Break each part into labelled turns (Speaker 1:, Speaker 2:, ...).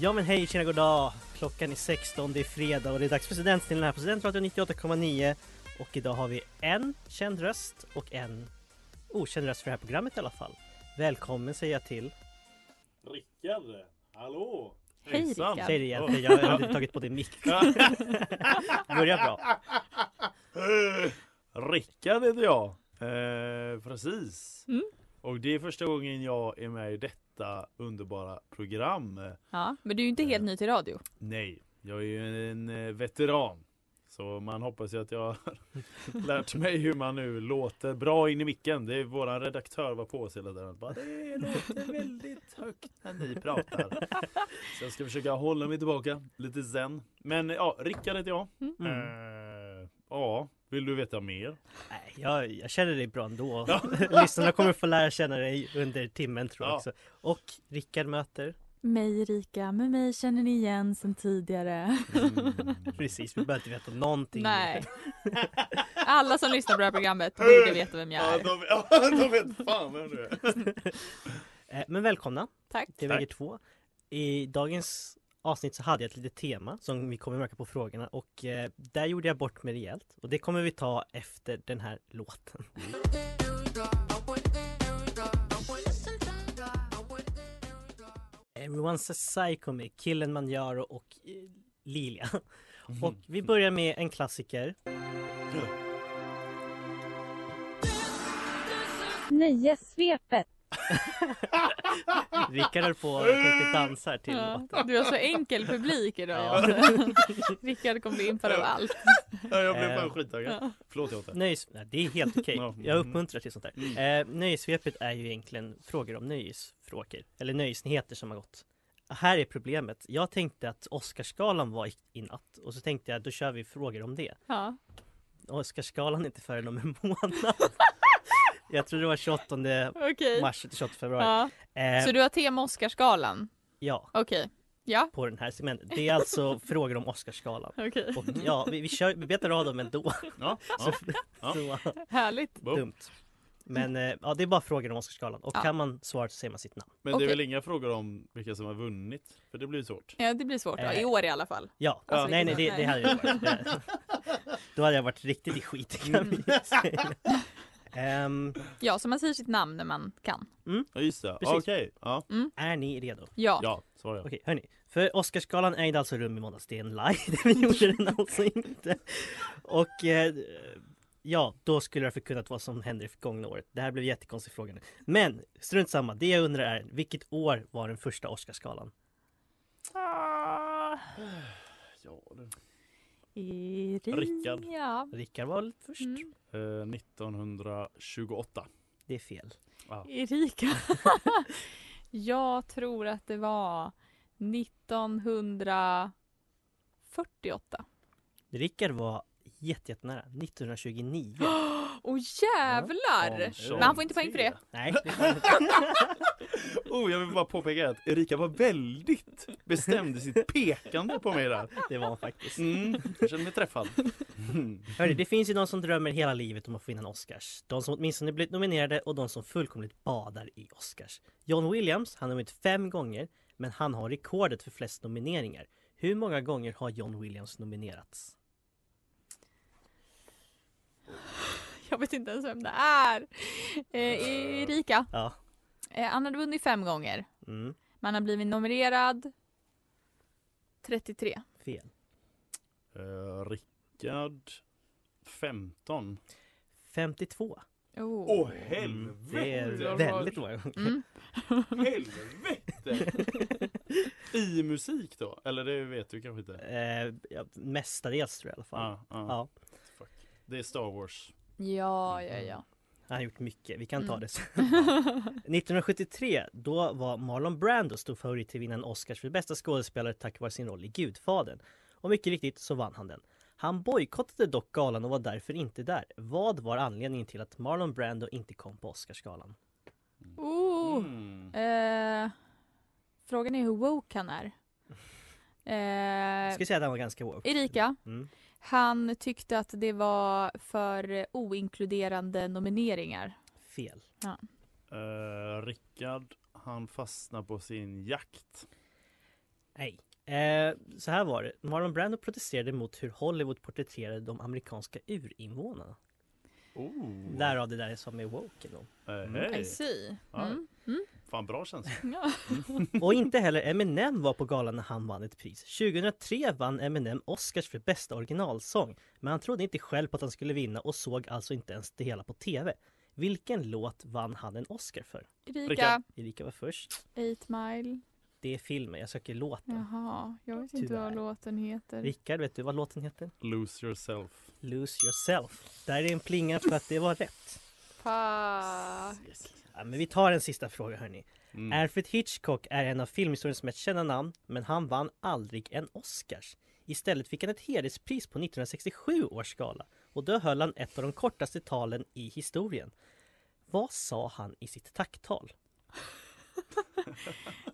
Speaker 1: Ja men hej, tjena goddag! Klockan är 16, det är fredag och det är dags för Studentstilen här på Studentradion 98,9 Och idag har vi en känd röst och en okänd röst för det här programmet i alla fall Välkommen säger jag till
Speaker 2: Rickard! Hallå!
Speaker 3: Hej,
Speaker 4: Hejsan.
Speaker 3: Rickard.
Speaker 1: Säg det igen, för jag har aldrig tagit på din mick Börja bra!
Speaker 4: Rickard heter jag. Eh, precis.
Speaker 1: Mm.
Speaker 4: Och det är första gången jag är med i detta underbara program. Eh,
Speaker 5: Ja, men du är ju inte helt ny till radio.
Speaker 4: Nej, jag är ju en eh, veteran. Så man hoppas ju att jag har lärt mig hur man nu låter bra in i micken. Det är våran redaktör var på oss hela tiden. Bara, det låter väldigt högt när ni pratar. Så jag ska försöka hålla mig tillbaka, lite zen. Men eh, ja, Rickard heter jag.
Speaker 5: Mm.
Speaker 4: Eh, ja, vill du veta mer?
Speaker 1: Nej, jag, jag känner dig bra ändå Lyssnarna kommer få lära känna dig under timmen tror jag
Speaker 4: Ja. Mm.
Speaker 1: också Och Rickard möter
Speaker 5: Mig Erika, men mig känner ni igen sen tidigare.
Speaker 1: Precis, vi behöver inte veta någonting
Speaker 5: Nej. Alla som lyssnar på det här programmet borde veta vem jag
Speaker 4: Ja,
Speaker 5: är.
Speaker 4: de, ja, de vet fan vem du är.
Speaker 1: Eh, Men välkomna
Speaker 5: Tack.
Speaker 1: till bägge två. I dagens avsnitt så hade jag ett litet tema som vi kommer märka på frågorna och eh, där gjorde jag bort mig rejält och det kommer vi ta efter den här låten. Everyone's a psycho med Killen Manjaro och eh, Lilia. Och vi börjar med en klassiker.
Speaker 6: Nöjessvepet.
Speaker 1: Rickard höll på och tänkte dansa här till
Speaker 5: Ja,
Speaker 1: låten.
Speaker 5: du har så enkel publik idag. alltså. Rickard kommer bli impad av allt.
Speaker 4: Ja, jag blev
Speaker 1: Eh.
Speaker 4: fan skittaggad. Förlåt Jonte.
Speaker 1: Nöjes... Nej, det är helt okej.
Speaker 4: Ja. Mm.
Speaker 1: Jag uppmuntrar till sånt där. Eh, nöjessvepet är ju egentligen frågor om nöjesfrågor, eller nöjesnyheter som har gått. Här är problemet. Jag tänkte att Oscarsgalan var i, i natt och så tänkte jag då kör vi frågor om det.
Speaker 5: Ja.
Speaker 1: Oscarsgalan är inte förrän om en månad. jag tror det var 28
Speaker 5: Okej.
Speaker 1: mars till 28 februari.
Speaker 5: Ja.
Speaker 1: Eh,
Speaker 5: Så du har tema Oscarsgalan?
Speaker 1: Ja,
Speaker 5: Okej. Ja,
Speaker 1: på den här segmenten. Det är alltså frågor om Oscarsgalan.
Speaker 5: okej.
Speaker 1: Och ja, vi, vi, kör, vi betar av dem ändå.
Speaker 4: Ja, ja. Ja.
Speaker 1: Så.
Speaker 5: Härligt.
Speaker 4: Boom.
Speaker 1: Dumt. Men eh, ja, det är bara frågor om Oscarsgalan och
Speaker 5: Ja.
Speaker 1: kan man svara så säger man sitt namn.
Speaker 4: Men
Speaker 5: Okej.
Speaker 4: det är väl inga frågor om vilka som har vunnit? För det blir ju svårt.
Speaker 5: Ja, det blir svårt. då. I år i alla fall.
Speaker 1: Ja,
Speaker 5: Alltså,
Speaker 1: nej nej
Speaker 5: vilket
Speaker 1: det,
Speaker 5: namn?
Speaker 1: det hade jag varit. Det- Då hade jag varit riktigt i skit kan vi säga. Ehm,
Speaker 5: Ja, så man säger sitt namn när man kan.
Speaker 4: Ja, just det.
Speaker 1: Precis.
Speaker 4: Ja, Okej. Ja.
Speaker 5: Mm.
Speaker 1: är ni redo?
Speaker 5: Ja.
Speaker 4: ja, svarar jag.
Speaker 1: Okej, hörni. För Oscarsgalan ägde alltså rum i måndags. Det är en lie. Vi gjorde den alltså inte. Och eh, ja, då skulle jag förkunnat vad som hände det förgångna året. Det här blev jättekonstig fråga nu. Men strunt samma. Det jag undrar är vilket år var den första Oscarsgalan?
Speaker 4: Ja,
Speaker 5: Erika.
Speaker 4: Rickard.
Speaker 5: Ja.
Speaker 1: Rickard var väl först?
Speaker 5: Mm.
Speaker 4: det. Eh, 1928.
Speaker 1: Det är fel.
Speaker 5: Erika. jag tror att det var 1948.
Speaker 1: Rickard var jätte- jättenära. 1929.
Speaker 5: Åh jävlar!
Speaker 4: Ja, så.
Speaker 5: Men han får inte poäng för det.
Speaker 1: Nej,
Speaker 4: Oh, jag vill bara påpeka att Erika var väldigt bestämd i sitt pekande på mig där.
Speaker 1: det var han faktiskt.
Speaker 4: Mm, jag känner mig träffad. Mm.
Speaker 1: Hörru, det finns ju de som drömmer hela livet om att få vinna en Oscars. De som åtminstone blivit nominerade och de som fullkomligt badar i Oscars. John Williams, han har vunnit fem gånger, men han har rekordet för flest nomineringar. Hur många gånger har John Williams nominerats?
Speaker 5: Jag jag vet inte ens vem det är. Eh, Erika.
Speaker 1: Ja.
Speaker 5: Eh, han hade vunnit fem gånger.
Speaker 1: Mm.
Speaker 5: Man har blivit nominerad 33.
Speaker 1: Fel.
Speaker 4: Eh, Rickard 15.
Speaker 1: 52.
Speaker 5: Oh.
Speaker 4: Åh
Speaker 1: Mm. Det är
Speaker 4: helvete!
Speaker 1: väldigt många gånger.
Speaker 5: Mm.
Speaker 4: Helvete! I musik då? Eller det vet du kanske inte?
Speaker 1: Eh, ja, mestadels tror jag i alla fall.
Speaker 4: Ja, ja.
Speaker 1: Ja.
Speaker 4: Fuck. Det är Star Wars.
Speaker 5: Ja, ja, ja.
Speaker 1: Han har gjort mycket, vi kan ta
Speaker 5: Mm.
Speaker 1: det sen. 1973, då var Marlon Brando stor favorit till att vinna en Oscars för bästa skådespelare tack vare sin roll i Gudfadern. Och mycket riktigt så vann han den. Han bojkottade dock galan och var därför inte där. Vad var anledningen till att Marlon Brando inte kom på Oscarsgalan?
Speaker 5: Oh.
Speaker 4: Mm.
Speaker 5: Eh, frågan är hur woke han är.
Speaker 1: Jag
Speaker 5: Eh,
Speaker 1: skulle säga att han var ganska woke.
Speaker 5: Erika,
Speaker 1: Mm.
Speaker 5: han tyckte att det var för oinkluderande nomineringar.
Speaker 1: Fel.
Speaker 4: Eh, Rickard, han fastnar på sin jakt.
Speaker 1: Nej. Eh, så här var det. Marlon Brando protesterade mot hur Hollywood porträtterade de amerikanska urinvånarna.
Speaker 4: Oh.
Speaker 1: Därav det där som är woke. Då.
Speaker 4: Eh,
Speaker 1: Mm.
Speaker 4: hej.
Speaker 5: see.
Speaker 4: Ja.
Speaker 5: Mm.
Speaker 4: Fan bra känsla.
Speaker 5: Ja.
Speaker 1: Och inte heller Eminem var på galan när han vann ett pris. 2003 vann Eminem Oscars för bästa originalsång, men han trodde inte själv på att han skulle vinna och såg alltså inte ens det hela på TV. Vilken låt vann han en Oscar för?
Speaker 5: Erika,
Speaker 4: Rickard.
Speaker 1: Erika var först.
Speaker 5: Eight mile.
Speaker 1: Det är filmen, jag söker låten.
Speaker 5: Jaha, jag vet inte
Speaker 1: Tyvärr.
Speaker 5: vad låten heter.
Speaker 1: Rickard, vet du vad låten heter?
Speaker 4: Lose yourself.
Speaker 1: Lose yourself. Där är en plinga för att det var rätt.
Speaker 5: Pa.
Speaker 1: Ja, men vi tar en sista fråga hörni.
Speaker 4: Mm.
Speaker 1: Alfred Hitchcock är en av filmhistoriens mest kända namn, men han vann aldrig en Oscars. Istället fick han ett hederspris på 1967 års skala och då höll han ett av de kortaste talen i historien. Vad sa han i sitt tacktal?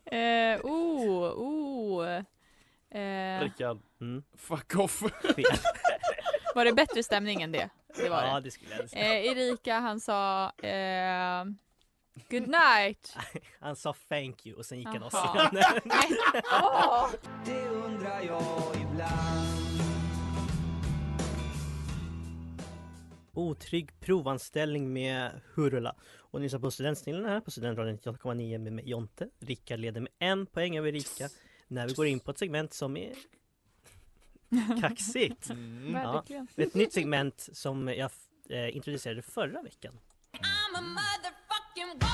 Speaker 5: Eh, oh, oh. Eh,
Speaker 4: Rickard,
Speaker 1: Mm.
Speaker 4: fuck off.
Speaker 1: Fel.
Speaker 5: var det bättre stämning än det? Det var
Speaker 1: ja,
Speaker 5: det.
Speaker 1: det skulle jag säga.
Speaker 5: Eh, Erika han sa eh, Good night.
Speaker 1: Han sa thank you och sen gick han
Speaker 5: Jaha.
Speaker 1: också.
Speaker 5: Nej. Åh!
Speaker 7: Det undrar jag ibland.
Speaker 1: Otrygg provanställning med Hurula. Och ni lyssnar på Studentsnillen här på Studentradion 98,9 med mig Jonte. Rickard leder med en poäng över Erika när vi går in på ett segment som är kaxigt.
Speaker 4: Mm.
Speaker 5: Verkligen.
Speaker 1: ett nytt segment som jag eh, introducerade förra veckan.
Speaker 5: Nej, det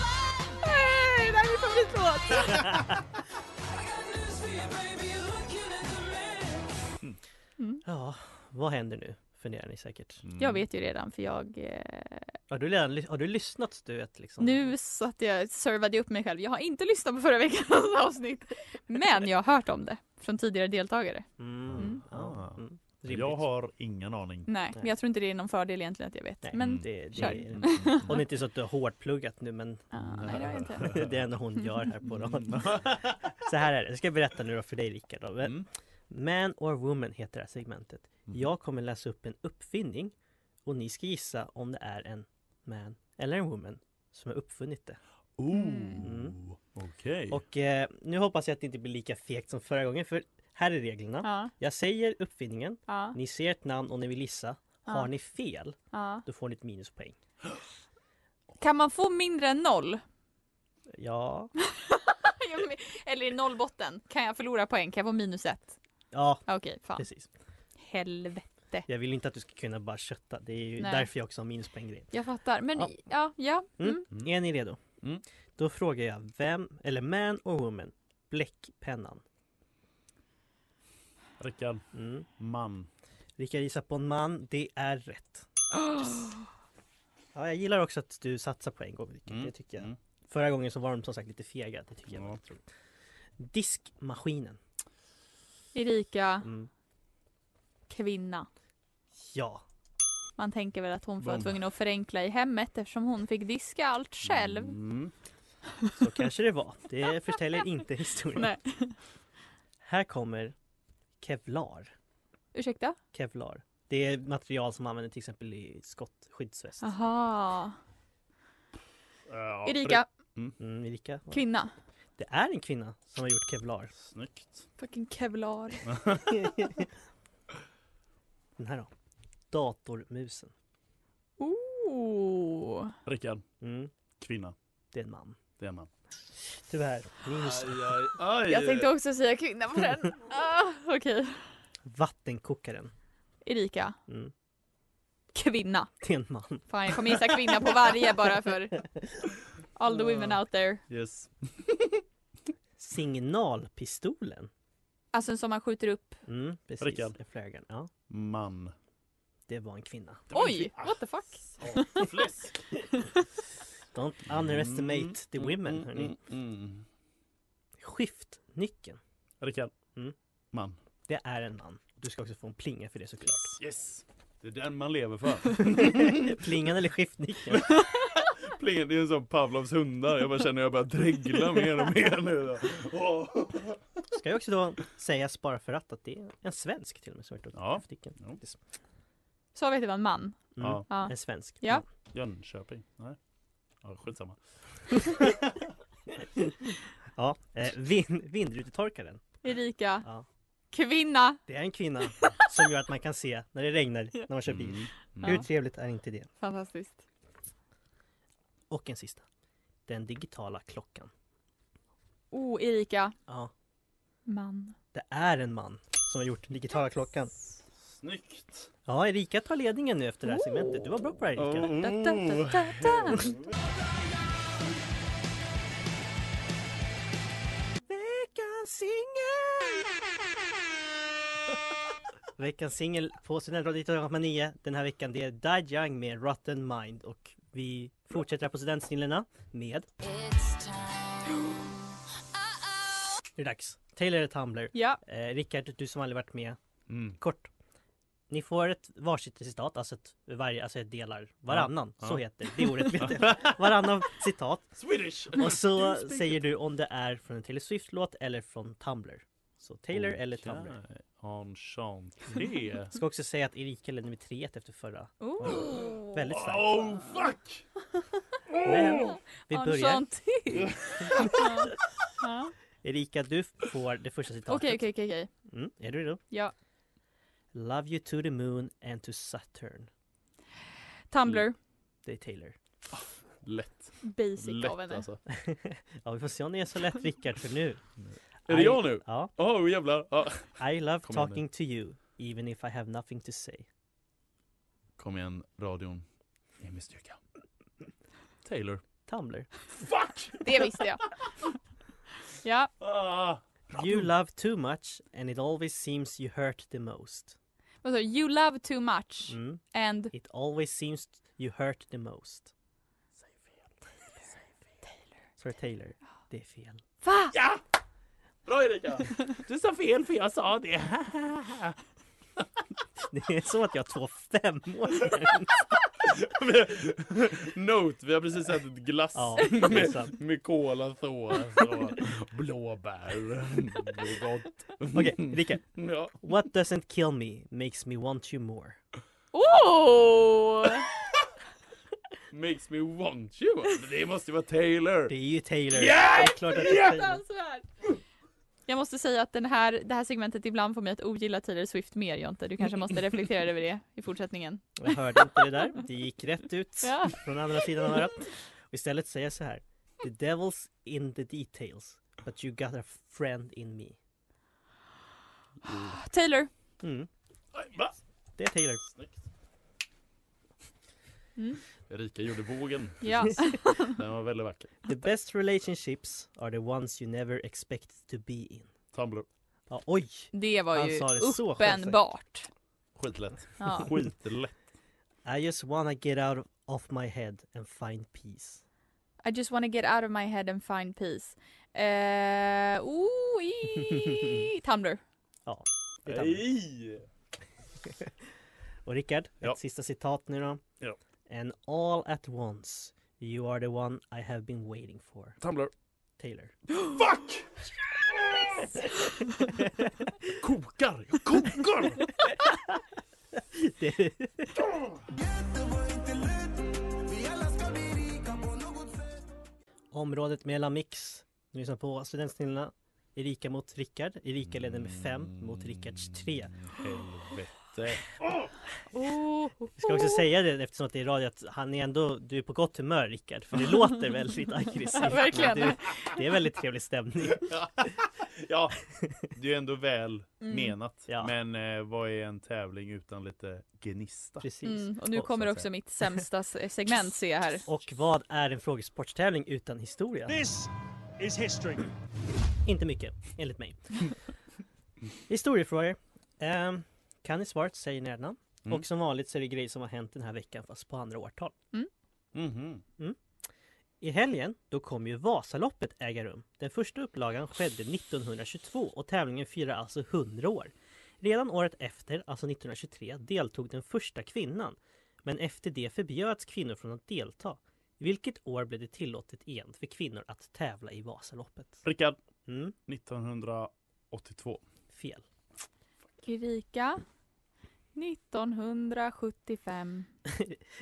Speaker 5: här är min favoritlåt.
Speaker 1: Ja, vad händer nu? Funderar ni säkert.
Speaker 5: Jag vet ju redan för jag eh,
Speaker 1: Har du, redan, ly- har du lyssnat du vet liksom?
Speaker 5: nu så att jag servade upp mig själv. Jag har inte lyssnat på förra veckans avsnitt. Men jag har hört om det från tidigare deltagare.
Speaker 1: Mm.
Speaker 5: Mm.
Speaker 1: Ja, mm.
Speaker 4: Ah. Jag har ingen aning.
Speaker 5: Nej, men jag tror inte det är någon fördel egentligen att jag vet.
Speaker 1: Nej,
Speaker 5: Men
Speaker 1: det, det,
Speaker 5: kör.
Speaker 1: är- Om det inte är så att du har hårdpluggat nu men
Speaker 5: ah, nej, det har jag inte.
Speaker 1: det är det enda hon gör här på radion. Så här är det, jag ska berätta nu då för dig Rickard. Då.
Speaker 4: Mm.
Speaker 1: Man or woman heter det här segmentet.
Speaker 4: Mm.
Speaker 1: Jag kommer läsa upp en uppfinning och ni ska gissa om det är en man eller en woman som har uppfunnit det. Mm.
Speaker 4: Oh, okej.
Speaker 1: Och eh, nu hoppas jag att det inte blir lika fegt som förra gången för här är reglerna.
Speaker 5: Ja,
Speaker 1: Jag säger uppfinningen,
Speaker 5: ja,
Speaker 1: ni ser ett namn och ni vill gissa. Har
Speaker 5: Ja.
Speaker 1: ni fel,
Speaker 5: ja.
Speaker 1: då får ni ett minuspoäng.
Speaker 5: Kan man få mindre än noll?
Speaker 1: Ja,
Speaker 5: Jag men- Eller i nollbotten. Kan jag förlora poäng? Kan jag få minus ett?
Speaker 1: ja
Speaker 5: Ah, Okej, fan.
Speaker 1: precis.
Speaker 5: Helvete.
Speaker 1: Jag vill inte att du ska kunna bara kötta. Det är ju
Speaker 5: Nej.
Speaker 1: därför jag också har minuspoäng.
Speaker 5: Jag fattar. Men
Speaker 1: Ja.
Speaker 5: ja, ja. Mm.
Speaker 1: Mm. Är ni redo?
Speaker 4: Mm.
Speaker 1: Då frågar jag vem, eller man och woman, bläckpennan.
Speaker 4: Rickard,
Speaker 1: Mm.
Speaker 4: man.
Speaker 1: Rickard gissar på en man, det är rätt. Ja, jag gillar också att du satsar på en gång, Rickard.
Speaker 4: Mm.
Speaker 1: Det tycker jag.
Speaker 4: Mm.
Speaker 1: Förra gången så var de som sagt lite fega. Det tycker jag var
Speaker 4: Ja.
Speaker 1: otroligt. Diskmaskinen.
Speaker 5: Erika,
Speaker 1: Mm.
Speaker 5: kvinna.
Speaker 1: Ja,
Speaker 5: Man tänker väl att hon var
Speaker 4: Bomb.
Speaker 5: tvungen att förenkla i hemmet eftersom hon fick diska allt själv.
Speaker 4: Mm.
Speaker 1: så kanske det var. Det förtäljer inte historien.
Speaker 5: Nej.
Speaker 1: Här kommer kevlar.
Speaker 5: Ursäkta?
Speaker 1: Kevlar. Det är material som man använder till exempel i skottskyddsväst.
Speaker 5: Aha.
Speaker 4: Ja,
Speaker 5: Erika,
Speaker 1: Mm, Erika?
Speaker 5: kvinna.
Speaker 1: Det är en kvinna som har gjort kevlar.
Speaker 4: Snyggt.
Speaker 5: Fucking kevlar.
Speaker 1: Den här då. Datormusen.
Speaker 5: Oh.
Speaker 4: Rickard,
Speaker 1: Mm,
Speaker 4: kvinna.
Speaker 1: det är en man.
Speaker 4: Det är man.
Speaker 1: Tyvärr. Minus
Speaker 4: aj, aj.
Speaker 5: Jag tänkte också säga kvinna på den. Ah, Okej.
Speaker 1: vattenkokaren.
Speaker 5: Erika.
Speaker 1: Mm,
Speaker 5: Kvinna.
Speaker 1: det är en man.
Speaker 5: Fan jag kommer gissa kvinna på varje bara för all the women out there.
Speaker 4: Yes.
Speaker 1: Signalpistolen.
Speaker 5: Alltså en som man skjuter upp.
Speaker 1: Mm, precis.
Speaker 4: Rickard.
Speaker 1: Flögan. Ja,
Speaker 4: Man.
Speaker 1: det var en kvinna.
Speaker 5: Oj! What the fuck?
Speaker 4: Fläsk.
Speaker 1: Don't underestimate Ah, the women.
Speaker 4: Mm,
Speaker 1: hörni.
Speaker 4: mm, mm.
Speaker 1: Skiftnyckeln.
Speaker 4: Rickard.
Speaker 1: Mm.
Speaker 4: Man.
Speaker 1: Det är en man. Du ska också få en plinga för det såklart.
Speaker 4: Yes. Det är den man lever för.
Speaker 1: Plingan eller skiftnyckeln?
Speaker 4: Pling, det är en sån Pavlovs hundar. Jag bara känner att jag börjar dregla mer och mer nu. Åh.
Speaker 1: Ska jag också då sägas bara för att att det är en svensk till och med som har gjort
Speaker 4: Ja.
Speaker 1: skiftnyckeln.
Speaker 4: Jo.
Speaker 1: Yes.
Speaker 5: Sa vi att det var en man?
Speaker 1: Mm.
Speaker 4: Ja,
Speaker 5: Ja.
Speaker 1: En svensk.
Speaker 5: Ja.
Speaker 4: Jönköping. Nej. Ja, skitsamma.
Speaker 1: Mm. ja. Eh, vind, vindrutetorkaren.
Speaker 5: Erika.
Speaker 1: Ja.
Speaker 5: Kvinna.
Speaker 1: Det är en kvinna som gör att man kan se när det regnar när man kör bil.
Speaker 4: Mm.
Speaker 1: Hur
Speaker 5: Ja.
Speaker 1: trevligt är inte det?
Speaker 5: Fantastiskt.
Speaker 1: Och en sista. Den digitala klockan.
Speaker 5: Oh, Erika.
Speaker 1: Ja,
Speaker 5: Man.
Speaker 1: det är en man som har gjort den digitala klockan.
Speaker 4: Snyggt!
Speaker 1: Ja, Erika tar ledningen nu efter det här segmentet. Du var bra på det här Erika.
Speaker 4: Mm. Oh.
Speaker 5: Da, da, da, da, da.
Speaker 1: Veckans singel! Veckans singel på Studentradion 19,9 den här veckan det är Die Young med Rotten Mind och vi fortsätter här på studentsnillena med... Nu är det dags! Taylor och Tumblr.
Speaker 5: Ja.
Speaker 1: Eh, Rickard, du som aldrig varit med,
Speaker 4: Mm.
Speaker 1: kort. Ni får ett varsitt citat, alltså ett, varje, alltså ett delar varannan,
Speaker 4: Ja.
Speaker 1: så
Speaker 4: Ja.
Speaker 1: heter det. det ordet vet jag. Varannan citat.
Speaker 4: Swedish!
Speaker 1: Och så säger du om det är från en Taylor Swift-låt eller från Tumblr. Så Taylor
Speaker 4: Oh,
Speaker 1: eller Tumblr.
Speaker 4: Enchanté.
Speaker 1: Ska också säga att Erika ledde med 3-1 efter förra.
Speaker 5: Oh.
Speaker 1: Väldigt starkt.
Speaker 4: Oh fuck! Oh,
Speaker 1: Men vi börjar.
Speaker 5: Enchanté. Ja.
Speaker 1: Erika, du får det första citatet.
Speaker 5: Okej, okej, okej, okej.
Speaker 1: Mm, är du redo?
Speaker 5: Ja.
Speaker 1: Love you to the moon and to Saturn.
Speaker 5: Tumblr.
Speaker 1: Det är Taylor.
Speaker 4: Lätt.
Speaker 5: Basic
Speaker 4: Lätt
Speaker 5: av henne.
Speaker 4: alltså.
Speaker 1: Ja, vi får se om det är så lätt Rickard för nu.
Speaker 4: Är det jag nu?
Speaker 1: Ja.
Speaker 4: Åh oh, jävlar! Ah.
Speaker 1: I love
Speaker 4: Kom igen nu.
Speaker 1: talking to you, even if I have nothing to say.
Speaker 4: Kom igen, radion. Ge mig styrka. Taylor.
Speaker 1: Tumblr.
Speaker 4: Fuck!
Speaker 5: Det visste jag. Ja.
Speaker 4: Ah.
Speaker 1: You love too much and it always seems you hurt the most.
Speaker 5: Vad sa du? You love too much
Speaker 1: Mm.
Speaker 5: and
Speaker 1: It always seems you hurt the most. Säg fel. Taylor. Sorry, Taylor. Det är fel.
Speaker 5: Va?
Speaker 4: Ja! Bra Erika! Du sa fel för jag sa det.
Speaker 1: Det är som att jag har två femåringar.
Speaker 4: Note, vi har precis ätit glass
Speaker 1: Ja, det är sant.
Speaker 4: med, med kolasås och blåbär. Det är gott.
Speaker 1: Okej, Rickard.
Speaker 4: Ja.
Speaker 1: What doesn't kill me makes me want you more.
Speaker 5: Oh!
Speaker 4: Makes me want you. Det måste ju vara Taylor.
Speaker 1: Det är ju Taylor.
Speaker 4: Ja!
Speaker 1: Det är klart att det är Taylor.
Speaker 5: Fruktansvärt! Jag måste säga att den här, det här segmentet ibland får mig att ogilla Taylor Swift mer Jonte. Du kanske måste reflektera över det i fortsättningen.
Speaker 1: Jag hörde inte det där. Det gick rätt ut
Speaker 5: Ja.
Speaker 1: från andra sidan av örat. Och Istället säger jag så här. The devil's in the details, but you got a friend in me.
Speaker 5: Taylor!
Speaker 1: Mm,
Speaker 4: Aj, Va?
Speaker 1: det är Taylor.
Speaker 4: Snyggt.
Speaker 5: Mm.
Speaker 4: Erika gjorde vågen.
Speaker 5: Ja.
Speaker 4: Den var väldigt vacker.
Speaker 1: The best relationships are the ones you never expected to be in.
Speaker 4: Tumblr.
Speaker 1: Ja, oj!
Speaker 5: Det var
Speaker 1: Han
Speaker 5: ju
Speaker 1: sa det så självsäkert.
Speaker 5: uppenbart.
Speaker 4: Skitlätt.
Speaker 5: Ja.
Speaker 4: Skitlätt.
Speaker 1: I just wanna get out of my head and find peace.
Speaker 5: I just wanna get out of my head and find peace. Eh, oh, i- Tumblr.
Speaker 1: Ja, det är Tumblr.
Speaker 4: Nej!
Speaker 1: Och Rickard,
Speaker 4: Ja.
Speaker 1: ett sista citat nu då.
Speaker 4: Ja.
Speaker 1: And all at once you are the one I have been waiting for.
Speaker 4: Tumblr.
Speaker 1: Taylor.
Speaker 4: Fuck! kokar! Jag kokar!
Speaker 1: Det- Området mellan mix. Nu lyssnar på studentsnillena. Erika mot Rickard. Erika leder med 5 mot Rickards 3.
Speaker 4: Helvete. inte.
Speaker 5: Oh,
Speaker 1: Jag ska också säga det eftersom att det är radio att han är ändå, du är på gott humör Rickard. För det låter väldigt aggressivt.
Speaker 5: Verkligen.
Speaker 1: Men du- det är väldigt trevlig stämning.
Speaker 4: Ja, det är ju ändå väl
Speaker 5: Mm.
Speaker 4: menat.
Speaker 1: Ja.
Speaker 4: Men eh, vad är en tävling utan lite gnista?
Speaker 1: Precis.
Speaker 5: Mm, och nu
Speaker 4: Och så
Speaker 5: kommer
Speaker 4: att
Speaker 5: också
Speaker 4: säga.
Speaker 5: mitt sämsta s- segment ser jag här.
Speaker 1: Och vad är en frågesportstävling utan historia?
Speaker 8: This is history.
Speaker 1: Inte mycket, enligt mig. Historiefrågor. Um, kan ni svaret säger ni ert namn.
Speaker 4: Mm.
Speaker 1: Och som vanligt så är det grejer som har hänt den här veckan fast på andra årtal.
Speaker 4: Mhm.
Speaker 1: I helgen, då kommer ju Vasaloppet äga rum. Den första upplagan skedde 1922 och tävlingen firar alltså 100 år. Redan året efter, alltså 1923, deltog den första kvinnan. Men efter det förbjöds kvinnor från att delta. Vilket år blev det tillåtet igen för kvinnor att tävla i Vasaloppet?
Speaker 4: Rickard,
Speaker 1: Mm,
Speaker 4: 1982.
Speaker 1: fel.
Speaker 5: Erika 1975.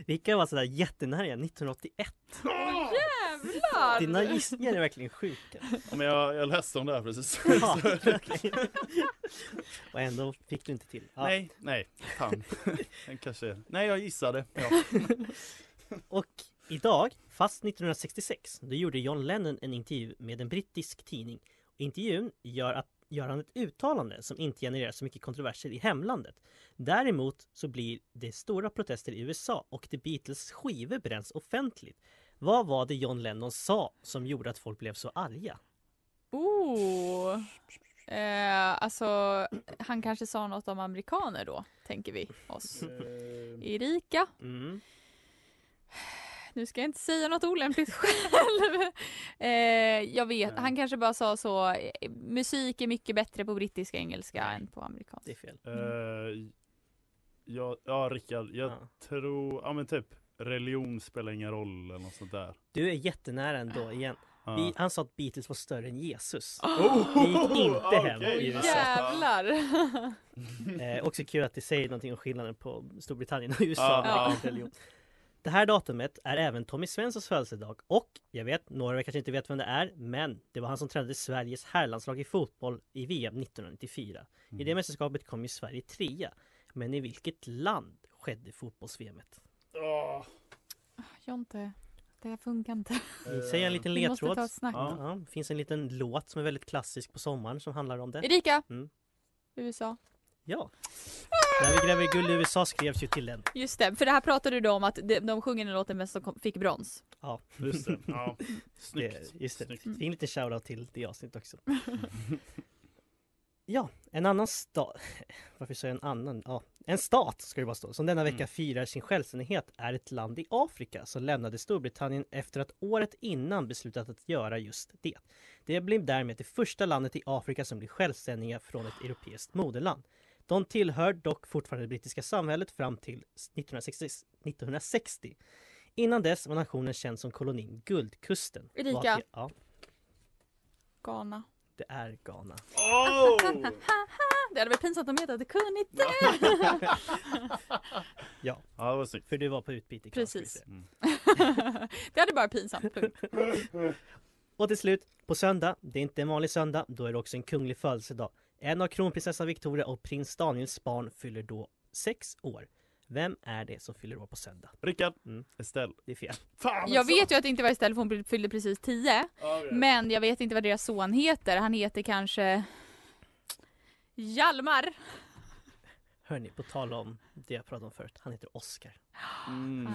Speaker 1: Vilka var sådär jättenära igen? 1981?
Speaker 5: Jävlar!
Speaker 1: Dina gissningar är verkligen sjuka.
Speaker 4: Ja, men jag, jag läste om det här precis.
Speaker 1: Ja, verkligen. och ändå fick du inte till. Ja.
Speaker 4: Nej, nej, fan. Den kanske... Nej, jag gissade. Ja.
Speaker 1: Och idag, fast 1966, då gjorde John Lennon en intervju med en brittisk tidning. Intervjun gör, att, gör han ett uttalande som inte genererar så mycket kontroverser i hemlandet. Däremot så blir det stora protester i USA och The Beatles skivor bränns offentligt. Vad var det John Lennon sa som gjorde att folk blev så arga?
Speaker 5: Oh. Eh, alltså, han kanske sa något om amerikaner då, tänker vi oss.
Speaker 4: Mm.
Speaker 5: Erika,
Speaker 1: Mm.
Speaker 5: nu ska jag inte säga något olämpligt själv. Eh, jag vet, han kanske bara sa så, eh, musik är mycket bättre på brittisk engelska än på
Speaker 1: Det är
Speaker 5: amerikansk.
Speaker 1: fel.
Speaker 4: Eh, ja, ja, Rickard, jag
Speaker 1: Ja.
Speaker 4: tror... Ja, men typ religion spelar ingen roll eller något sånt där.
Speaker 1: Du är jättenära ändå igen.
Speaker 4: Ja.
Speaker 1: Be- Han sa att Beatles var större än Jesus.
Speaker 4: Oh!
Speaker 1: Det gick inte hem
Speaker 4: Okej.
Speaker 1: i USA.
Speaker 5: Jävlar!
Speaker 1: Eh, också kul att det säger någonting om skillnaden på Storbritannien och USA.
Speaker 4: Ja,
Speaker 5: ja.
Speaker 1: vilken religion. Det här datumet är även Tommy Svenssons födelsedag och jag vet, några av er kanske inte vet vem det är, men det var han som tränade Sveriges herrlandslag i fotboll i VM 1994. I det mästerskapet kom ju Sverige trea. Men i vilket land skedde fotbolls-VM?
Speaker 4: Åh,
Speaker 5: Jonte, det här funkar inte.
Speaker 4: Eh,
Speaker 1: Ni säger en liten
Speaker 5: Vi måste
Speaker 1: ledtråd.
Speaker 5: ta ett snack.
Speaker 4: Ja.
Speaker 1: Ja, det finns en liten låt som är väldigt klassisk på sommaren som handlar om det.
Speaker 5: Erika!
Speaker 1: Mm.
Speaker 5: USA.
Speaker 1: Ja. När vi gräver i guld i USA skrevs ju till den.
Speaker 5: Just det, för det här pratade du om att de, de sjunger den låten men som kom, fick brons.
Speaker 1: Ja,
Speaker 4: Eh, Just det. Ja. Snyggt.
Speaker 1: Det, just det.
Speaker 4: Snyggt.
Speaker 1: Fick en liten shoutout till det avsnittet också. ja, en annan stat. Varför säger jag en annan? Ja, en stat ska det bara stå. Som denna vecka
Speaker 4: Mm.
Speaker 1: firar sin självständighet är ett land i Afrika som lämnade Storbritannien efter att året innan beslutat att göra just det. Det blev därmed det första landet i Afrika som blir självständiga från ett europeiskt moderland. De tillhör dock fortfarande det brittiska samhället fram till 1960. 1960. Innan dess var nationen känd som kolonin Guldkusten.
Speaker 5: Erika.
Speaker 1: Vad- Ja,
Speaker 5: Ghana.
Speaker 1: det är Ghana.
Speaker 4: Oh!
Speaker 5: Det hade varit pinsamt om jag inte hade kunnat det.
Speaker 1: Ja,
Speaker 4: Ja, det var snyggt.
Speaker 1: för du var på utbyte. i Ghana, ska vi
Speaker 5: Precis.
Speaker 1: säga.
Speaker 5: Det hade bara pinsamt. punkt.
Speaker 1: Och till slut, på söndag, det är inte en vanlig söndag, då är det också en kunglig födelsedag. En av kronprinsessan Victoria och prins Daniels barn fyller då sex år. Vem är det som fyller år på söndag?
Speaker 4: Rickard,
Speaker 1: Mm.
Speaker 4: Estelle.
Speaker 1: Det är fel.
Speaker 4: Fan, alltså!
Speaker 5: Jag vet ju att det inte var Estelle för hon fyllde precis 10. Men jag vet inte vad deras son heter. Han heter kanske Hjalmar.
Speaker 1: Hörni, på tal om det jag pratade om förut, han heter Oscar.
Speaker 4: Mm.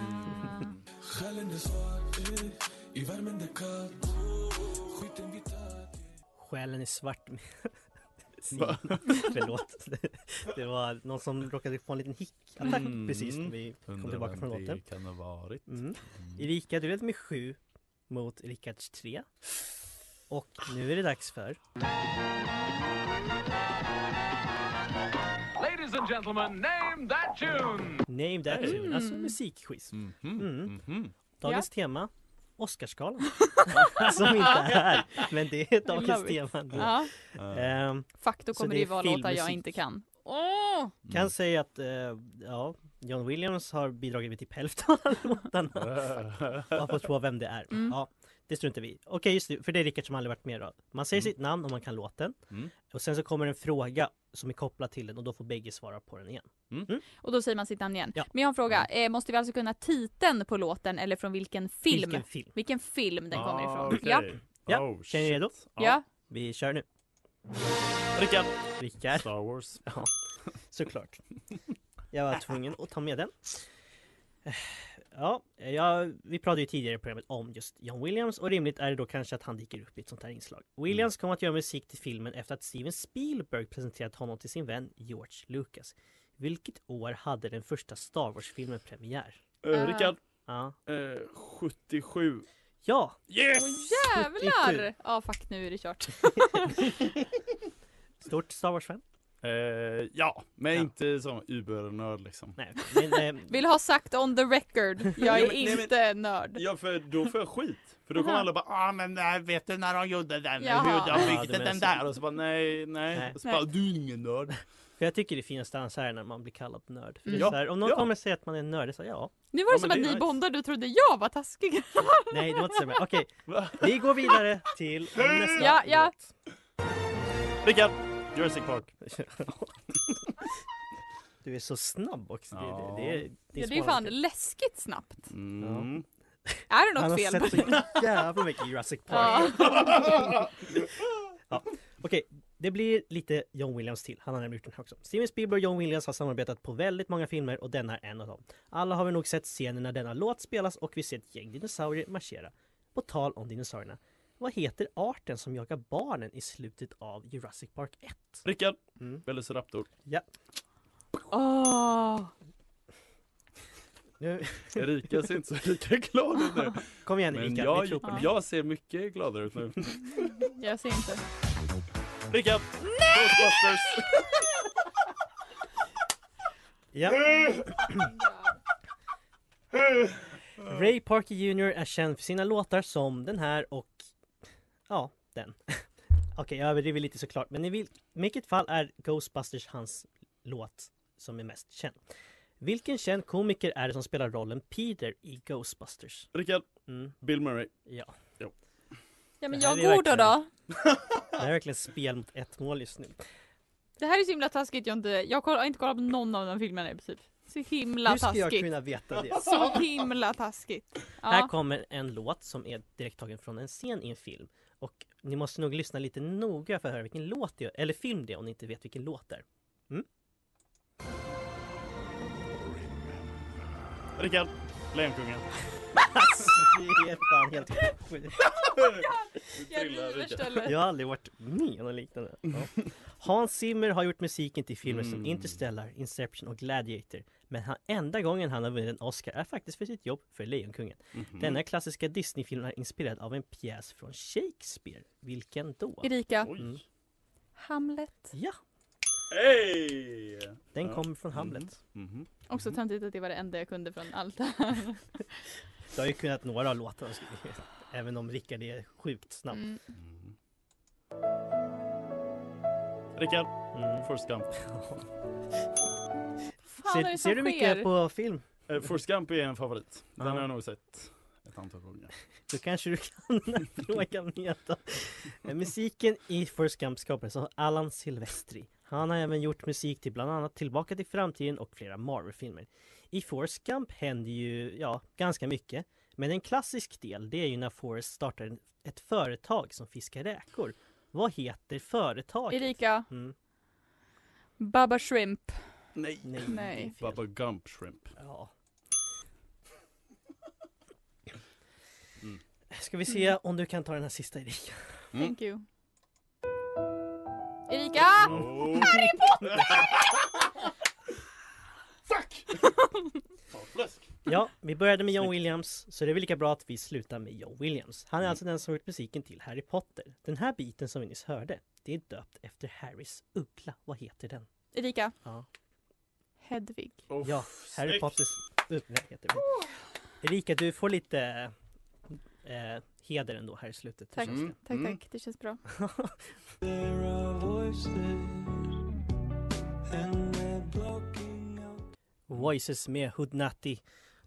Speaker 1: Själen är svart med...
Speaker 4: Va?
Speaker 1: Förlåt. Det var någon som råkade få en liten hickattack
Speaker 4: Mm.
Speaker 1: precis när vi kom
Speaker 4: Undrar
Speaker 1: tillbaka
Speaker 4: vem
Speaker 1: från
Speaker 4: det
Speaker 1: låten.
Speaker 4: kan ha varit.
Speaker 1: Mm. Erika, du ledde med 7 mot Rickards 3. Och nu är det dags för...
Speaker 8: Ladies and gentlemen, name that tune!
Speaker 1: Name that
Speaker 4: Hey.
Speaker 5: Mm.
Speaker 1: tune, alltså musikquiz.
Speaker 4: Mhm,
Speaker 1: Mm.
Speaker 4: mhm.
Speaker 1: Dagens tema, Oscarsgalan. Alltså, Som inte är här, men det är dagens
Speaker 5: Love it.
Speaker 1: tema. ändå.
Speaker 5: Ja.
Speaker 4: Eh,
Speaker 1: Ehm,
Speaker 5: Fuck, då
Speaker 1: Så
Speaker 5: kommer
Speaker 1: det
Speaker 5: det ju
Speaker 1: är
Speaker 5: vara låtar jag
Speaker 1: filmmusik.
Speaker 5: inte kan. Åh!
Speaker 1: kan säga att eh, ja, John Williams har bidragit med typ hälften av alla låtarna. Bara för att förstå vem det är.
Speaker 5: Mm.
Speaker 1: Ja, Det struntar vi i. Okej, just det, för det är Rickard som aldrig varit med då. Man säger sitt namn om man kan låten.
Speaker 4: Mm.
Speaker 1: Och sen så kommer en fråga som är kopplad till den och då får bägge svara på den igen.
Speaker 5: Och då säger man sitt namn igen.
Speaker 1: Ja.
Speaker 5: Men jag har en fråga. Eh, måste vi alltså kunna titeln på låten eller från vilken film?
Speaker 1: Vilken film?
Speaker 5: Vilken film den kommer
Speaker 4: Ah,
Speaker 5: ifrån.
Speaker 4: okej.
Speaker 5: Ja.
Speaker 1: Ja,
Speaker 4: Oh,
Speaker 1: Känner ni
Speaker 4: shit.
Speaker 1: redo?
Speaker 5: ja.
Speaker 1: Vi kör nu.
Speaker 4: Rickard!
Speaker 1: Rickard.
Speaker 4: Star Wars.
Speaker 1: Ja, såklart. Jag var tvungen att ta med den. Eh, Ja, jag, vi pratade ju tidigare i programmet om just John Williams och rimligt är det då kanske att han dyker upp i ett sånt här inslag.
Speaker 4: Mm.
Speaker 1: Williams kom att göra musik till filmen efter att Steven Spielberg presenterat honom till sin vän George Lucas. Vilket år hade den första Star Wars-filmen premiär?
Speaker 4: Eh, Rickard!
Speaker 1: Ja,
Speaker 4: Eh, 77.
Speaker 1: ja
Speaker 5: Åh
Speaker 4: Yes!
Speaker 5: jävlar! Ja fuck nu är det kört.
Speaker 1: stort Star Wars-fan.
Speaker 4: Eh, ja, men
Speaker 1: Ja.
Speaker 4: inte som ubernörd liksom.
Speaker 1: Nej, men, eh,
Speaker 5: Vill ha sagt on the record. Jag
Speaker 4: Nej,
Speaker 5: är
Speaker 4: men- nej, men-
Speaker 5: inte nörd.
Speaker 4: Ja, för då får jag skit. För då kommer
Speaker 5: Aha.
Speaker 4: alla bara ah men nej, vet du när de gjorde den?
Speaker 5: Jaha.
Speaker 4: Hur
Speaker 1: Ja,
Speaker 4: de
Speaker 1: du
Speaker 4: byggde
Speaker 1: menar
Speaker 4: den
Speaker 1: så.
Speaker 4: där? Och så bara nej, nej.
Speaker 1: Nej.
Speaker 4: Och så bara
Speaker 5: Nej.
Speaker 4: du är ingen nörd.
Speaker 1: för jag tycker det finaste är så här när man blir kallad nörd. För
Speaker 5: Mm.
Speaker 1: det är så här, om någon
Speaker 4: Ja.
Speaker 1: kommer säga att man är nörd, så här, ja.
Speaker 5: Nu var det
Speaker 4: Ja,
Speaker 5: som
Speaker 4: men
Speaker 5: att
Speaker 4: det är
Speaker 5: ni
Speaker 4: nice.
Speaker 5: bondade och trodde jag var taskig.
Speaker 1: Nej, det var inte så. bra. Okej,
Speaker 4: Va?
Speaker 1: vi går vidare till nästa
Speaker 5: Ja, ja.
Speaker 1: låt.
Speaker 4: Rickard! Jurassic Park.
Speaker 1: Du är så snabb också. Det,
Speaker 4: Ja.
Speaker 1: det, det, är- det,
Speaker 5: Ja, det är ju
Speaker 1: svårare.
Speaker 5: fan läskigt snabbt.
Speaker 4: Mm.
Speaker 5: Är det
Speaker 1: Han har
Speaker 5: något fel?
Speaker 1: sett så jävla mycket Jurassic Park.
Speaker 5: Ja.
Speaker 1: Okej, det blir lite John Williams till. Han har nämligen gjort den här också. Steven Spielberg och John Williams har samarbetat på väldigt många filmer och denna är en av dem. Alla har vi nog sett scenen när denna låt spelas och vi ser ett gäng dinosaurier marschera. På tal om dinosaurierna. Vad heter arten som jagar barnen i slutet av Jurassic Park 1?
Speaker 4: Rickard!
Speaker 1: Mm.
Speaker 4: Velociraptor.
Speaker 5: Åh.
Speaker 1: Nu,
Speaker 4: Erika ser inte så lika glad ut nu.
Speaker 1: kom igen
Speaker 4: Men
Speaker 1: Rickard, vi tror på
Speaker 4: jag,
Speaker 1: dig.
Speaker 4: jag ser mycket gladare ut nu.
Speaker 5: Jag ser inte.
Speaker 4: Rickard! Ghostbusters!
Speaker 1: Ja. Ray Parker Jr är känd för sina låtar som den här och ja, den. Okej, jag överdriver lite såklart, men i vil- vilket fall är Ghostbusters hans låt som är mest känd. Vilken känd komiker är det som spelar rollen Peter i Ghostbusters?
Speaker 4: Rickard!
Speaker 1: Mm,
Speaker 4: Bill Murray.
Speaker 1: ja,
Speaker 5: Ja men
Speaker 1: Det här
Speaker 5: jag
Speaker 1: är
Speaker 5: går då då.
Speaker 1: det här är verkligen spel mot ett mål just nu.
Speaker 5: Det här är så himla taskigt. Jag, inte, jag koll- har inte kollat på någon av de filmerna i princip. Så himla
Speaker 1: Hur ska jag
Speaker 5: taskigt.
Speaker 1: kunna veta det?
Speaker 5: Så himla taskigt.
Speaker 1: Här
Speaker 5: Ja.
Speaker 1: kommer en låt som är direkt tagen från en scen i en film. Och ni måste nog lyssna lite noga för att höra vilken låt det är, eller film det är om ni inte vet vilken låt det är.
Speaker 4: Rickard! Lejonkungen.
Speaker 1: Det är fan helt sjukt.
Speaker 5: Oh Jag
Speaker 4: Trilla,
Speaker 5: river
Speaker 4: Rickard.
Speaker 5: stället.
Speaker 1: Jag har aldrig varit med om något liknande. Ja. Hans Zimmer har gjort musiken till filmer som
Speaker 4: Mm.
Speaker 1: Interstellar, Inception och Gladiator. Men han, enda gången han har vunnit en Oscar är faktiskt för sitt jobb för Lejonkungen.
Speaker 4: Mhm.
Speaker 1: Denna klassiska Disney-film är inspirerad av en pjäs från Shakespeare. Vilken då?
Speaker 5: Erika.
Speaker 1: Mm.
Speaker 4: Oj!
Speaker 5: Hamlet.
Speaker 1: Ja,
Speaker 4: Hej!
Speaker 1: den
Speaker 4: Ja.
Speaker 1: kommer från Hamlet.
Speaker 4: Mhm.
Speaker 5: Också
Speaker 4: Mhm.
Speaker 5: töntigt att det var det enda jag kunde från allt Mm. det här.
Speaker 1: Du har ju kunnat några av låtarna Även om Rickard är sjukt snabb.
Speaker 5: Mm.
Speaker 4: Mhm. Rickard!
Speaker 1: Mm.
Speaker 4: Forrest Gump.
Speaker 5: Fan
Speaker 1: Ser,
Speaker 5: är
Speaker 1: ser
Speaker 5: det som
Speaker 1: du
Speaker 5: sker?
Speaker 1: mycket på film?
Speaker 4: Eh, Forrest Gump är en favorit. Den
Speaker 1: Ja.
Speaker 4: har jag nog sett ett antal gånger.
Speaker 1: Då kanske du kan den här frågan mer då. Eh, Musiken i Forrest Gump skapades av Alan Silvestri. Han har även gjort musik till bland annat Tillbaka till framtiden och flera Marvel-filmer. I Forrest Gump händer ju, ja, ganska mycket. Men en klassisk del, det är ju när Forrest startar en- ett företag som fiskar räkor. Vad heter företaget?
Speaker 5: Erika.
Speaker 1: Mm.
Speaker 5: Baba Shrimp.
Speaker 4: Nej!
Speaker 1: Nej,
Speaker 5: Nej.
Speaker 1: Det är fel.
Speaker 4: Baba Gump Shrimp.
Speaker 1: Ja.
Speaker 4: Mm.
Speaker 1: Ska vi se om du kan ta den här sista Erika?
Speaker 4: Mm.
Speaker 5: Thank you. Erika!
Speaker 4: Oh.
Speaker 5: Ah!
Speaker 4: Fuck! Fan, fläsk.
Speaker 1: Ja, vi började med John
Speaker 4: Snyggt.
Speaker 1: Williams, så det är väl lika bra att vi slutar med John Williams. Han är alltså den som har gjort musiken till Harry Potter. Den här biten som vi nyss hörde, det är döpt efter Harrys uggla. Vad heter den?
Speaker 5: Erika.
Speaker 1: Ja.
Speaker 5: Hedvig.
Speaker 4: Oh,
Speaker 1: Ja, Harry
Speaker 4: snyggt.
Speaker 1: Potters uggla heter den. Erika, du får lite eh, heder ändå här i slutet.
Speaker 5: Tack,
Speaker 4: Mm.
Speaker 5: tack,
Speaker 4: Mm.
Speaker 5: tack. Det känns bra. Mm.
Speaker 1: Voices med Hoodnatty.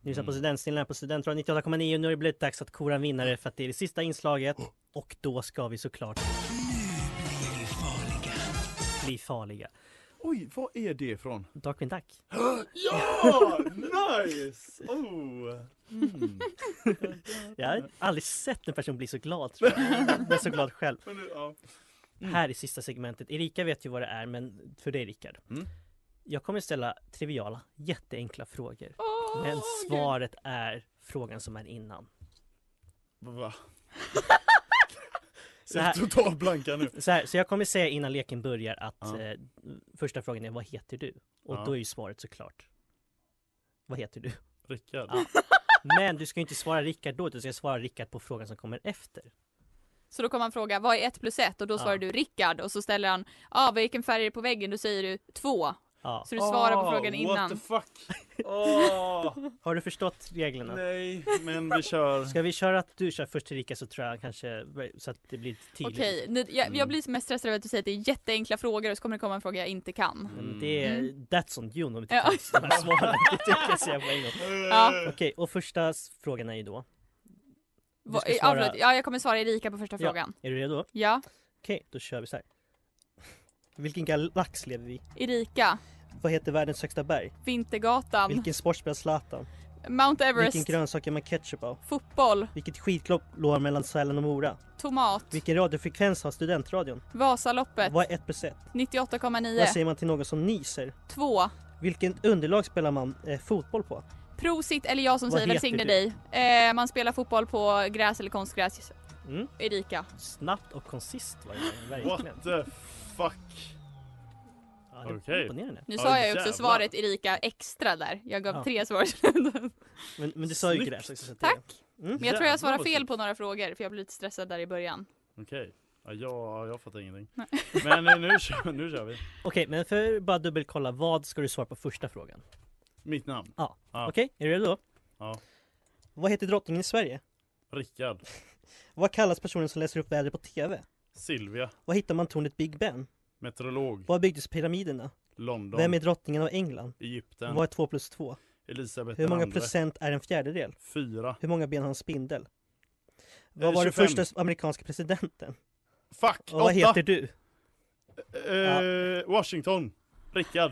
Speaker 1: Nu lyssnar på Studentsnillen här på Studentradion 98,9 Nu har det blivit dags att kora en
Speaker 5: Mm.
Speaker 1: vinnare för att det är det sista inslaget Och då ska vi såklart bli farliga
Speaker 4: Oj, vad är det ifrån?
Speaker 1: Darkwing Duck
Speaker 4: Ja! Nice! Oh. Mm.
Speaker 1: Jag
Speaker 5: Mm.
Speaker 1: har aldrig sett en person bli så glad tror jag. Jag är så glad själv
Speaker 4: Men nu, ja.
Speaker 5: Mm.
Speaker 1: Här i sista segmentet Erika vet ju vad det är men för dig Rickard
Speaker 4: Mm.
Speaker 1: Jag kommer ställa triviala jätteenkla frågor
Speaker 5: Åh,
Speaker 1: Men
Speaker 5: gud.
Speaker 1: svaret är frågan som är innan
Speaker 4: Va?
Speaker 1: Så
Speaker 4: Jag är
Speaker 1: här,
Speaker 4: totalt blanka nu.
Speaker 1: Så, här, så jag kommer säga innan leken börjar att
Speaker 4: Ja.
Speaker 1: eh, första frågan är vad heter du? Och
Speaker 4: Ja.
Speaker 1: då är ju svaret såklart Vad heter du?
Speaker 4: Rickard.
Speaker 1: Ja. Men du ska ju inte svara Rickard då, utan du ska svara Rickard på frågan som kommer efter.
Speaker 5: Så då kommer han fråga vad är ett plus ett och då
Speaker 1: Ja.
Speaker 5: svarar du Rickard och så ställer han ja ah, vilken färg är det på väggen? Då säger du två.
Speaker 1: Ja.
Speaker 5: Så du svarar på
Speaker 4: Ah,
Speaker 5: frågan
Speaker 4: What the
Speaker 5: innan.
Speaker 4: fuck? Ah,
Speaker 1: Har du förstått reglerna?
Speaker 4: nej, men vi kör.
Speaker 1: Ska vi köra att du kör först till Rickard så tror jag kanske så att det blir lite tydligt.
Speaker 5: Okej, nu- jag,
Speaker 1: Mm.
Speaker 5: jag blir mest stressad över att du säger att det är jätteenkla frågor och så kommer det komma en fråga jag inte kan.
Speaker 1: Men Mm, det är, that's on you om vi inte
Speaker 5: Mm. Ja.
Speaker 1: kan de här svaren. Det tycker jag säga på en gång.
Speaker 5: Ja.
Speaker 1: Okej, och första s- frågan är ju då. Du
Speaker 5: Va,
Speaker 1: ska
Speaker 5: eh,
Speaker 1: svara-
Speaker 5: avbryt. ja, jag kommer svara Erika på första
Speaker 1: Ja.
Speaker 5: frågan.
Speaker 1: Är du redo?
Speaker 5: Ja,
Speaker 1: Okej, då kör vi så här. Vilken galax lever vi i?
Speaker 5: Erika.
Speaker 1: Vad heter världens högsta berg?
Speaker 5: Vintergatan.
Speaker 1: Vilken sport spelar Zlatan?
Speaker 5: Mount
Speaker 1: Vilken
Speaker 5: Everest.
Speaker 1: grönsak är man ketchup av?
Speaker 5: Fotboll.
Speaker 1: Vilket skidklopp låg mellan Sälen och Mora?
Speaker 5: Tomat.
Speaker 1: Vilken radiofrekvens har studentradion?
Speaker 5: Vasaloppet.
Speaker 1: Vad är 1 plus 1? Vad
Speaker 5: 98,9.
Speaker 1: säger man till någon som nyser?
Speaker 5: Två.
Speaker 1: Vilket underlag spelar man eh, fotboll på?
Speaker 5: Prosit eller jag som
Speaker 1: Vad heter
Speaker 5: säger välsigne
Speaker 1: du?
Speaker 5: dig. Eh, man spelar fotboll på gräs eller konstgräs.
Speaker 1: Mm.
Speaker 5: Erika.
Speaker 1: Snabbt och konsist var det verkligen.
Speaker 4: What the fuck?
Speaker 1: Ja, det var
Speaker 4: Okej.
Speaker 1: imponerande.
Speaker 5: Nu
Speaker 4: Ja,
Speaker 5: sa jag ju också
Speaker 4: jävlar.
Speaker 5: svaret Erika extra där. Jag gav
Speaker 1: Ja.
Speaker 5: tre svar.
Speaker 1: Men, men du sa ju
Speaker 4: Snyggt.
Speaker 1: gräs också. så att det-
Speaker 5: Tack!
Speaker 1: Mm.
Speaker 5: Men jag tror jag svarade
Speaker 4: vad
Speaker 5: fel
Speaker 4: snyggt.
Speaker 5: på några frågor för jag blev lite stressad där i början.
Speaker 4: Okej. Ja, jag, jag fattar ingenting.
Speaker 5: Nej.
Speaker 4: Men eh, nu kör, nu kör vi.
Speaker 1: Okej, men för att bara dubbelkolla. Vad ska du svara på första frågan?
Speaker 4: Mitt namn. Ja.
Speaker 1: Okej, är du redo?
Speaker 4: Ja.
Speaker 1: Vad heter drottningen i Sverige?
Speaker 4: Rickard.
Speaker 1: Vad kallas personen som läser upp vädret på TV?
Speaker 4: Silvia.
Speaker 1: Vad hittar man tornet Big Ben?
Speaker 4: Meteorolog.
Speaker 1: Var byggdes pyramiderna?
Speaker 4: London.
Speaker 1: Vem är drottningen av England?
Speaker 4: Egypten.
Speaker 1: Vad är 2 plus 2?
Speaker 4: Elisabeth
Speaker 1: Hur
Speaker 4: den
Speaker 1: många
Speaker 4: andra.
Speaker 1: procent är en fjärdedel?
Speaker 4: Fyra.
Speaker 1: Hur många ben har en spindel?
Speaker 4: Eh,
Speaker 1: Vad var den
Speaker 4: 25.
Speaker 1: första amerikanska presidenten?
Speaker 4: Fuck!
Speaker 1: Och vad heter du?
Speaker 4: Eh, Washington. Rickard.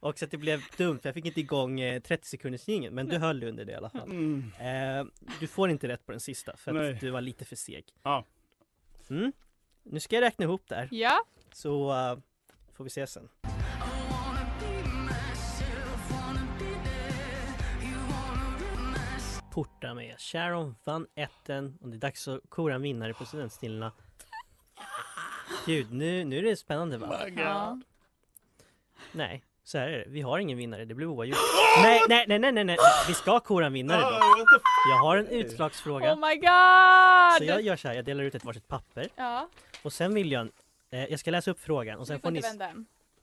Speaker 1: Och så att det blev dumt, för jag fick inte igång eh, 30 sekunders jingeln, men du höll under det i alla fall.
Speaker 4: Mm.
Speaker 1: Eh, du får inte rätt på den sista, för att
Speaker 4: Nej.
Speaker 1: du var lite för seg.
Speaker 4: Ja.
Speaker 1: Mm. Nu ska jag räkna ihop det här,
Speaker 5: Ja,
Speaker 1: så eh, får vi se sen. Porta med Sharon van Etten och det är dags att kora en vinnare på Studentsnillena. Gud, nu, nu är det spännande va?
Speaker 5: ja.
Speaker 1: Nej, så här är det. Vi har ingen vinnare, det blir oavgjort. Nej, nej, nej, nej, nej, nej. Vi ska kora en vinnare
Speaker 4: Ah,
Speaker 1: då.
Speaker 4: what the fuck?
Speaker 1: Jag har en utslagsfråga.
Speaker 5: Oh my
Speaker 1: Så jag
Speaker 5: god!
Speaker 1: gör så här, jag delar ut ett varsitt papper
Speaker 5: Ja,
Speaker 1: och sen vill jag eh, jag ska läsa upp frågan och
Speaker 5: du
Speaker 1: sen
Speaker 5: får
Speaker 1: får ni,
Speaker 5: inte vända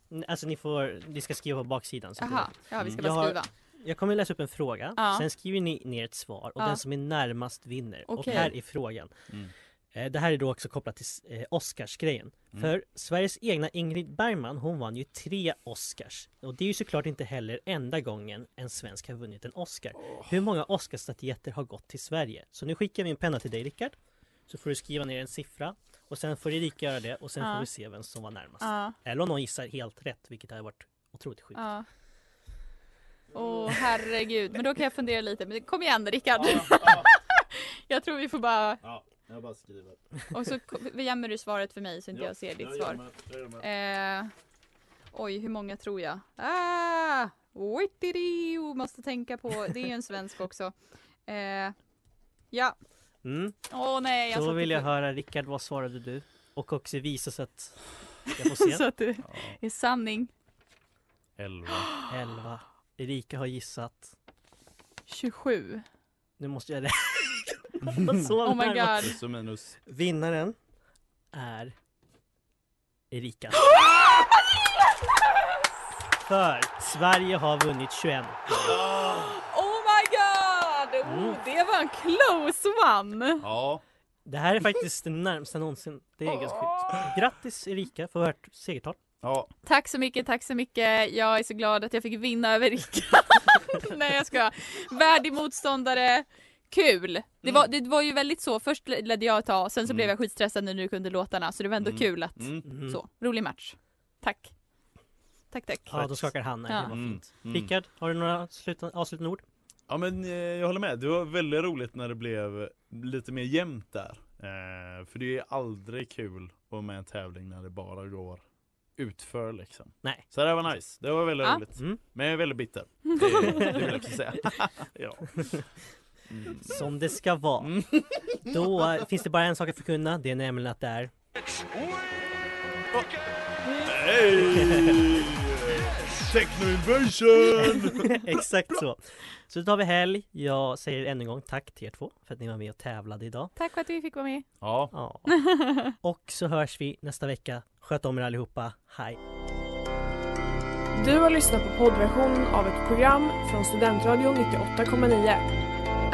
Speaker 5: den.
Speaker 1: alltså ni får, ni ska skriva på baksidan. Så att
Speaker 5: Jaha, ja, vi ska
Speaker 1: Jag
Speaker 5: bara
Speaker 1: har-
Speaker 5: skriva.
Speaker 1: Jag kommer läsa upp en fråga,
Speaker 5: Ja.
Speaker 1: sen skriver ni ner ett svar och
Speaker 5: Ja.
Speaker 1: den som är närmast vinner. Och
Speaker 5: Okej.
Speaker 1: här är frågan.
Speaker 4: Mm.
Speaker 1: Eh, Det här är då också kopplat till eh, Oscarsgrejen. För Sveriges egna Ingrid Bergman, hon vann ju tre Oscars. Och det är ju såklart inte heller enda gången en svensk har vunnit en Oscar. Hur många Oscarsstatyetter har gått till Sverige? Så nu skickar vi en penna till dig Rickard. Så får du skriva ner en siffra och sen får Erika göra det och sen
Speaker 5: Ja.
Speaker 1: får vi se vem som var närmast.
Speaker 5: Ja,
Speaker 1: Eller om någon gissar helt rätt, vilket hade varit otroligt sjukt.
Speaker 5: ja. Åh herregud, men då kan jag fundera lite. Men kom igen Rickard! jag tror vi får bara...
Speaker 2: Ja, jag bara skriver.
Speaker 5: Och så ko- gömmer du svaret för mig så inte jag ser ditt svar. Eh, oj, hur många tror jag? Ah! Oittirio, måste tänka på. Det är ju en svensk också. Eh, ja.
Speaker 1: Mm.
Speaker 5: Åh nej. Jag
Speaker 1: Då
Speaker 5: satte
Speaker 1: vill jag
Speaker 5: fel.
Speaker 1: höra Rickard, vad svarade du? Och också visa så att jag får
Speaker 5: Så
Speaker 1: se.
Speaker 5: att det är sanning. Eh.
Speaker 4: Elva.
Speaker 1: 11. Erika har gissat.
Speaker 5: 27.
Speaker 1: Nu måste jag räkna. Så
Speaker 5: Oh my
Speaker 1: nära.
Speaker 5: god.
Speaker 4: Plus och minus.
Speaker 1: Vinnaren är Erika. För Sverige har vunnit 21.
Speaker 5: Oh my god!
Speaker 1: Mm.
Speaker 5: Oh, det var en close one!
Speaker 4: Ja.
Speaker 1: Det här är faktiskt det närmsta någonsin. Det är ganska sjukt. Grattis Erika för vårt segertal.
Speaker 4: Ja,
Speaker 5: Tack så mycket, tack så mycket. Jag är så glad att jag fick vinna över Rickard. Nej jag ska. Värdig motståndare. Kul! Det var,
Speaker 1: Mm.
Speaker 5: det var ju väldigt så, först ledde jag ett tag, sen så blev jag skitstressad när du kunde låtarna så det var ändå kul att,
Speaker 4: Mm.
Speaker 5: så, rolig match. Tack. Tack tack.
Speaker 1: Ja, då skakar han.
Speaker 5: Ja.
Speaker 1: Ja. Det var fint.
Speaker 4: Mm.
Speaker 1: Rickard, har du några sluta- avslutande ord?
Speaker 4: ja men eh, jag håller med. Det var väldigt roligt när det blev lite mer jämnt där. Eh, för det är aldrig kul att vara med i en tävling när det bara går utför liksom.
Speaker 1: Nej.
Speaker 4: Så det var nice. Det var väldigt
Speaker 5: Ja.
Speaker 4: roligt.
Speaker 1: Mm.
Speaker 4: Men jag är väldigt bitter. Det, det vill jag också säga. ja. Mm.
Speaker 1: Som det ska vara.
Speaker 4: Mm.
Speaker 1: Då eh, finns det bara en sak att förkunna, det är nämligen att det är
Speaker 4: Hey! Techno invasion!
Speaker 1: exakt så. Så då tar vi helg. Jag säger än en gång tack till er två för att ni var med och tävlade idag.
Speaker 5: Tack för att vi fick vara med.
Speaker 4: Ja.
Speaker 1: Ja. Och så hörs vi nästa vecka. Sköt om er allihopa. Hej!
Speaker 9: Du har lyssnat på poddversionen av ett program från Studentradion 98,9.